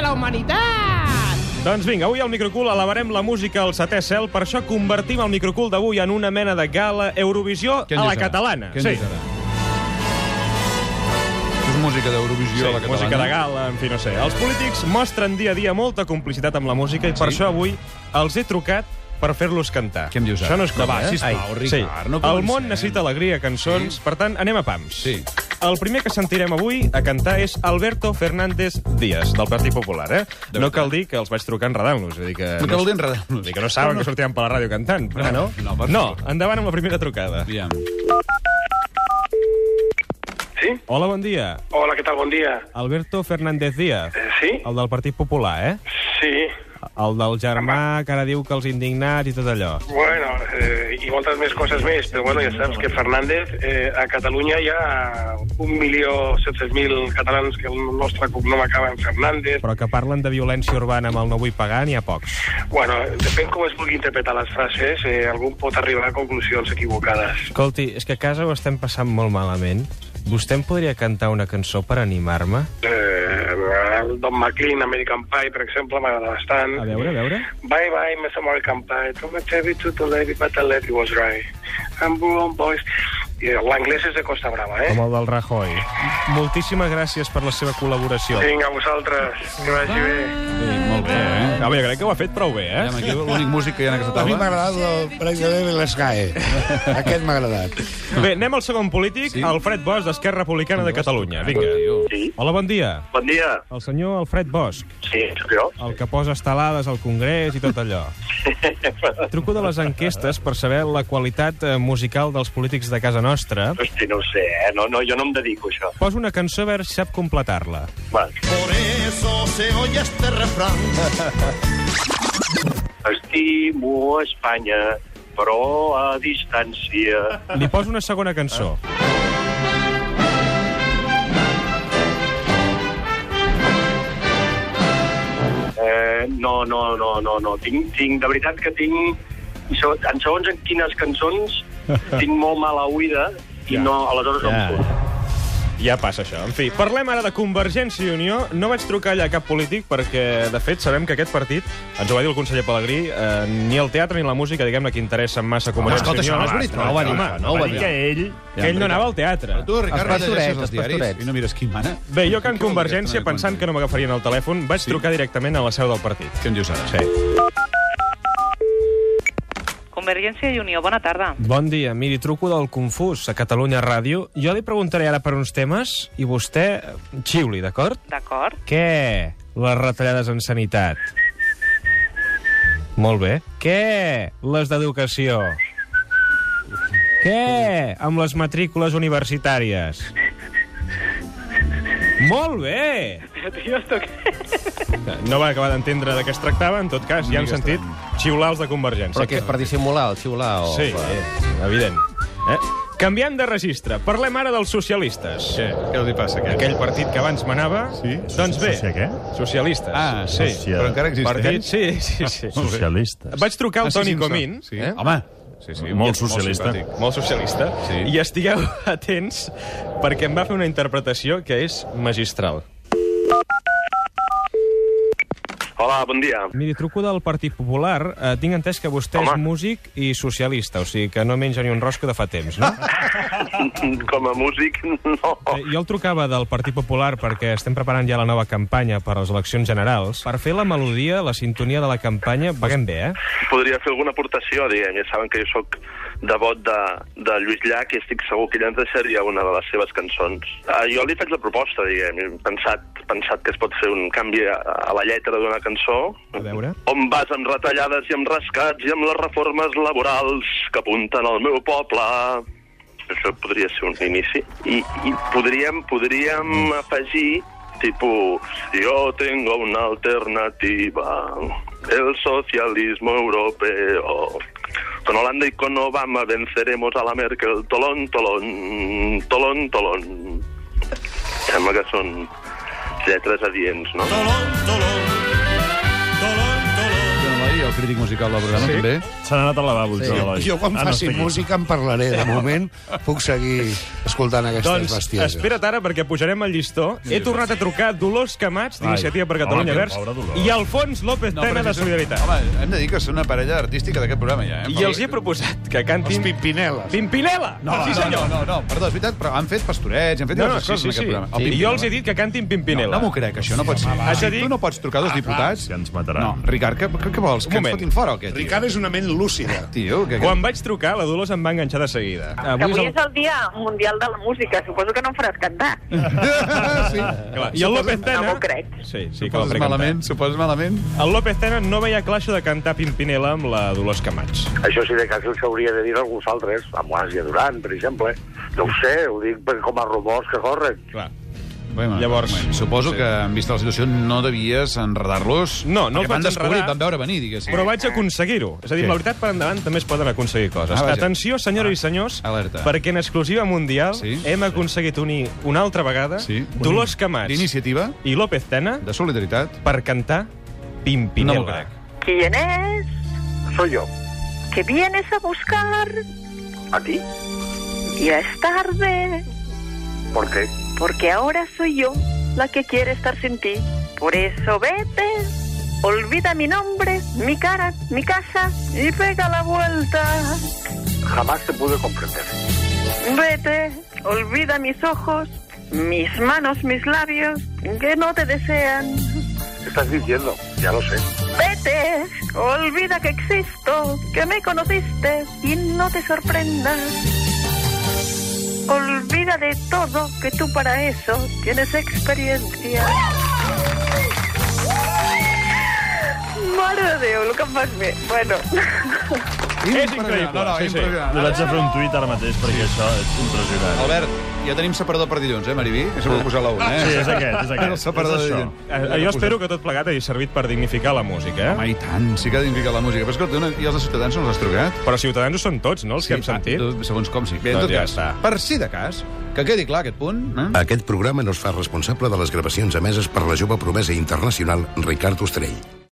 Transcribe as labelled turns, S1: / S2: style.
S1: la humanitat!
S2: Doncs vinga, avui al Microcool elevarem la música al setè cel, per això convertim el Microcool d'avui en una mena de gala Eurovisió
S3: Què ens
S2: a la
S3: llisarà?
S2: catalana.
S3: Què ens llisarà? És música d'Eurovisió
S2: Sí,
S3: a la catalana.
S2: música de gala, en fi, no sé. Els polítics mostren dia a dia molta complicitat amb la música i per
S3: Sí.
S2: això avui els he trucat per fer-los cantar.
S3: Què em dius ara?
S2: Això no és com,
S3: Va, va,
S2: eh?
S3: sisplau,
S2: Ai,
S3: Ricard, no
S2: El
S3: comencem.
S2: món necessita alegria, cançons,
S3: Sí.
S2: per tant, anem a pams.
S3: Sí.
S2: El primer que sentirem avui a cantar és Alberto Fernández Díaz, del Partit Popular, eh?
S3: De
S2: No
S3: veritat.
S2: cal dir que els vaig trucar enredant-los. Vull dir que...
S3: No cal dir enredar-los.
S2: Vull dir que no saben que sortirem per la ràdio cantant.
S3: Ah, no? No, per
S2: no,
S3: favor.
S2: endavant amb la primera trucada.
S3: Aviam.
S4: Sí?
S2: Hola, bon dia.
S4: Hola, què tal? Bon dia.
S2: Alberto Fernández Díaz,
S4: Eh, sí?
S2: el del Partit Popular, eh?
S4: Sí.
S2: El del germà que ara diu que els indignats i tot allò.
S4: Bueno, eh, i moltes més coses més, però bueno, ja saps que Fernández, eh, a Catalunya hi ha 1.700.000 catalans que el nostre cognom acaba en Fernández.
S2: Però que parlen de violència urbana amb el no vull pagar n'hi ha pocs.
S4: Bueno, depèn com es vulgui interpretar les frases, eh, algú pot arribar a conclusions equivocades.
S2: Escolti, és que a casa ho estem passant molt malament. Vostè em podria cantar una cançó per animar-me?
S4: Eh, el Don McLean, American Pie, per exemple, m'agrada bastant.
S2: A veure, a veure.
S4: Bye bye, Miss American Pie. From a cherry to the lady, but the lady was right. I'm brown boys. I L'anglès és de Costa Brava, eh?
S2: Com el del Rajoy. Moltíssimes gràcies per la seva col·laboració.
S4: Vinga, vosaltres. Que vagi bé.
S3: Sí, molt bé, eh?
S2: Home, jo crec que ho ha fet prou bé, eh?
S3: Aviam, aquí l'únic músic que hi ha en aquesta
S5: A mi m'ha
S3: taula...
S5: agradat el president de l'Escae. Aquest m'ha agradat.
S2: Bé, anem al segon polític,
S3: Sí.
S2: Alfred Bosch, d'Esquerra Republicana de Catalunya. Vinga.
S3: Tio.
S2: Hola, bon dia.
S6: Bon dia.
S2: El senyor Alfred Bosch,
S6: Sí, sóc jo.
S2: el que posa estelades al Congrés i tot allò. Truco de les enquestes per saber la qualitat eh, musical dels polítics de casa nostra.
S6: Hosti, no ho sé, eh? No, no, jo no em dedico a això.
S2: Posa una cançó a veure si sap completar-la.
S6: Va,
S7: Por eso se oye este refrán.
S6: estimo Espanya, però a distància.
S2: Li poso una segona cançó.
S6: Eh, no, no, no, no, no. Tinc, tinc, de veritat que tinc... i so- En segons en quines cançons tinc molt mala oïda i
S2: Ja.
S6: no, aleshores no
S2: Ja.
S6: em surt.
S2: Ja passa això. En fi, parlem ara de Convergència i Unió. No vaig trucar allà a cap polític perquè, de fet, sabem que aquest partit, ens ho va dir el conseller Pellegrí, eh, ni el teatre ni la música, diguem-ne, que interessen massa a Convergència
S3: escolta,
S2: i Unió.
S3: això no és veritat. No ho va dir,
S2: Home,
S3: això no ho
S2: va
S3: va
S2: dir
S3: dir.
S2: que ell, que ell no anava al teatre.
S3: Tu, Ricard,
S5: Els
S3: rellegeixes
S5: pastorets,
S3: els
S5: els
S3: diaris
S5: pastorets.
S3: i no mires qui mana.
S2: Bé, jo que en
S3: Què vol dir aquesta
S2: Convergència,
S3: manera
S2: pensant
S3: de
S2: que no m'agafarien el telèfon, vaig trucar directament a la seu del partit.
S3: Què en dius ara? Eh,
S2: Sí.
S8: Convergència i Unió, bona tarda.
S2: Bon dia, miri, truco del Confús, a Catalunya Ràdio. Jo li preguntaré ara per uns temes i vostè eh, xiuli, d'acord?
S8: D'acord.
S2: Què? Les retallades en sanitat. Molt bé. Què? Les d'educació. Què? Amb les matrícules universitàries. Molt bé! No va acabar d'entendre de què es tractava, en tot cas, ja hem sentit xiulals de Convergència.
S9: Però què és per dissimular, el xiular? O...
S2: Sí, evident. Eh? Canviant de registre, parlem ara dels socialistes.
S3: Què? Què els hi passa, aquest?
S2: Aquell partit que abans manava...
S10: Sí?
S2: Doncs bé,
S10: Socia què?
S2: socialistes.
S3: Ah,
S2: sí.
S10: Socia-
S3: Però encara existeix.
S2: Partit, sí, sí, sí.
S10: Socialistes.
S2: Vaig trucar
S3: Ah,
S2: al
S3: sí,
S2: Toni
S3: sí,
S2: Comín,
S3: Sí.
S2: eh?
S3: Home, sí, sí.
S10: Molt socialista.
S3: simpàtic.
S2: molt socialista,
S3: Sí.
S2: i estigueu atents perquè em va fer una interpretació que és magistral.
S6: Hola, bon dia.
S2: Miri, truco del Partit Popular. Eh, tinc entès que vostè
S6: Home.
S2: és músic i socialista, o sigui que no menja ni un rosco de fa temps, no?
S6: Com a músic, no.
S2: Eh, Jo el trucava del Partit Popular perquè estem preparant ja la nova campanya per a les eleccions generals. Per fer la melodia, la sintonia de la campanya, paguem bé, eh?
S6: podria fer alguna aportació, diguem, ja saben que jo sóc devot de, de Lluís Llach i estic segur que ell ens deixaria una de les seves cançons. Uh, jo li faig la proposta, diguem, he pensat, pensat que es pot fer un canvi a, a la lletra d'una cançó.
S2: A veure.
S6: On vas amb retallades i amb rescats i amb les reformes laborals que apunten al meu poble. Això podria ser un inici. I, i podríem, podríem afegir tipus jo tengo una alternativa el socialismo europeo con Holanda y con Obama venceremos a la Merkel tolón, tolón, tolón, tolón sembla que són lletres adients, no?
S7: Tolón, tolón, tolón, tolón.
S3: Eloi, el crític musical del programa, també.
S1: Se n'ha anat al lavabo, el
S5: Sí.
S1: Joan Eloi.
S5: Jo quan
S1: Ah, no,
S5: faci
S1: està aquí.
S5: música en parlaré. De moment puc seguir escoltant aquestes
S2: Doncs
S5: bestieses.
S2: espera't ara, perquè pujarem el llistó. He tornat a trucar Dolors Camats, d'Iniciativa per
S1: Ai,
S2: Catalunya
S1: home,
S2: Verds,
S1: pobra Dolors.
S2: i Alfons López Tena, de Solidaritat.
S3: Home, hem de dir que són una parella artística d'aquest programa, ja. Eh?
S2: I els hi he proposat que cantin...
S5: Els Pimpineles.
S2: Pimpinela!
S3: No,
S2: sí, senyor!
S3: no, no, no, perdó, és veritat, però han fet pastorets, han fet
S2: No, no,
S3: diverses
S2: sí, sí,
S3: coses en aquest
S2: sí.
S3: programa. El
S2: sí.
S3: Pimpinela.
S2: Jo els he dit que cantin
S3: No,
S2: Pimpinela.
S3: no m'ho crec, això no pot ser.
S2: Has de
S3: Si
S2: dir- Ah,
S3: tu no pots trucar dos diputats...
S1: que ens mataran.
S3: No, Ricard, què, què, què vols? Que ens
S2: moment.
S3: fotin fora o què, tio?
S5: Ricard és una ment lúcida.
S3: Tio, que...
S2: Quan vaig trucar, la Dolors em va enganxar de seguida.
S10: Que avui és el Dia Mundial de la Música. Suposo que no em faràs cantar.
S3: sí.
S2: Clar, I el López
S10: No
S2: Tena...
S10: m'ho crec.
S2: Sí, sí, que la
S3: Suposes
S2: faré cantar.
S3: malament, suposes malament.
S2: El López Tena no veia clar això de cantar Pimpinela amb la Dolors Camats.
S6: Això, si de cas, us hauria de dir a alguns altres, amb Àsia Duran, per exemple. No ho sé, ho dic per- com a rumors que corren.
S2: Clar.
S3: Bueno,
S2: Llavors-
S3: suposo que, en vista la situació, no devies enredar-los.
S2: No, no
S3: perquè
S2: els
S3: van
S2: vaig
S3: descobrir,
S2: enredar.
S3: van veure venir, diguéssim.
S2: Però vaig aconseguir-ho. És a dir,
S3: Què?
S2: la veritat per endavant també es poden aconseguir coses.
S3: Ah, vaja.
S2: Atenció, senyores i senyors,
S3: Alerta.
S2: perquè en exclusiva mundial
S3: Sí.
S2: hem aconseguit unir una altra vegada
S3: Sí.
S2: Dolors Camats
S3: D'iniciativa,
S2: i López Tena
S3: de solidaritat,
S2: per cantar
S3: no
S2: Pimpinela.
S3: m'ho crec.
S10: ¿Quién es?
S6: Soy yo.
S10: ¿Que vienes a buscar?
S6: ¿A ti?
S10: Ya es tarde,
S6: ¿Por qué?
S10: porque ahora soy yo la que quiere estar sin ti. Por eso vete, olvida mi nombre, mi cara, mi casa y pega la vuelta.
S6: Jamás te pude comprender.
S10: Vete, olvida mis ojos, mis manos, mis labios que no te desean.
S6: ¿Qué estás diciendo? Ya lo sé.
S10: Vete, olvida que existo, que me conociste y no te sorprendas. Olvida de todo que tú para eso tienes experiencia. Mare de Déu, el que em fas bé. Bueno,
S2: És increïble.
S3: No, no,
S2: sí, sí.
S3: impressionant.
S1: Li vaig a fer un tuit ara mateix, perquè això és impressionant.
S3: Albert, ja tenim separador per dilluns, eh, Maribí? És el que posar la una, eh?
S1: Sí, és aquest, és
S3: El
S1: aquest.
S3: separador
S1: És
S3: de
S1: això.
S3: dilluns.
S2: Eh, Jo espero que tot plegat hagi servit per dignificar la música, eh?
S3: Home, i tant, sí que ha d'implicar la música. Però escolta, una- i els de Ciutadans no els has trucat?
S2: Però Ciutadans ho són tots, no?, els que hem sentit.
S3: Ah, doncs, segons com, sí. Bé, en
S2: Doncs
S3: tot
S2: ja
S3: cas,
S2: està.
S3: per si de cas, que quedi clar aquest punt, eh?
S7: Aquest programa no es fa responsable de les gravacions emeses per la jove promesa internacional Ricard Ostrell.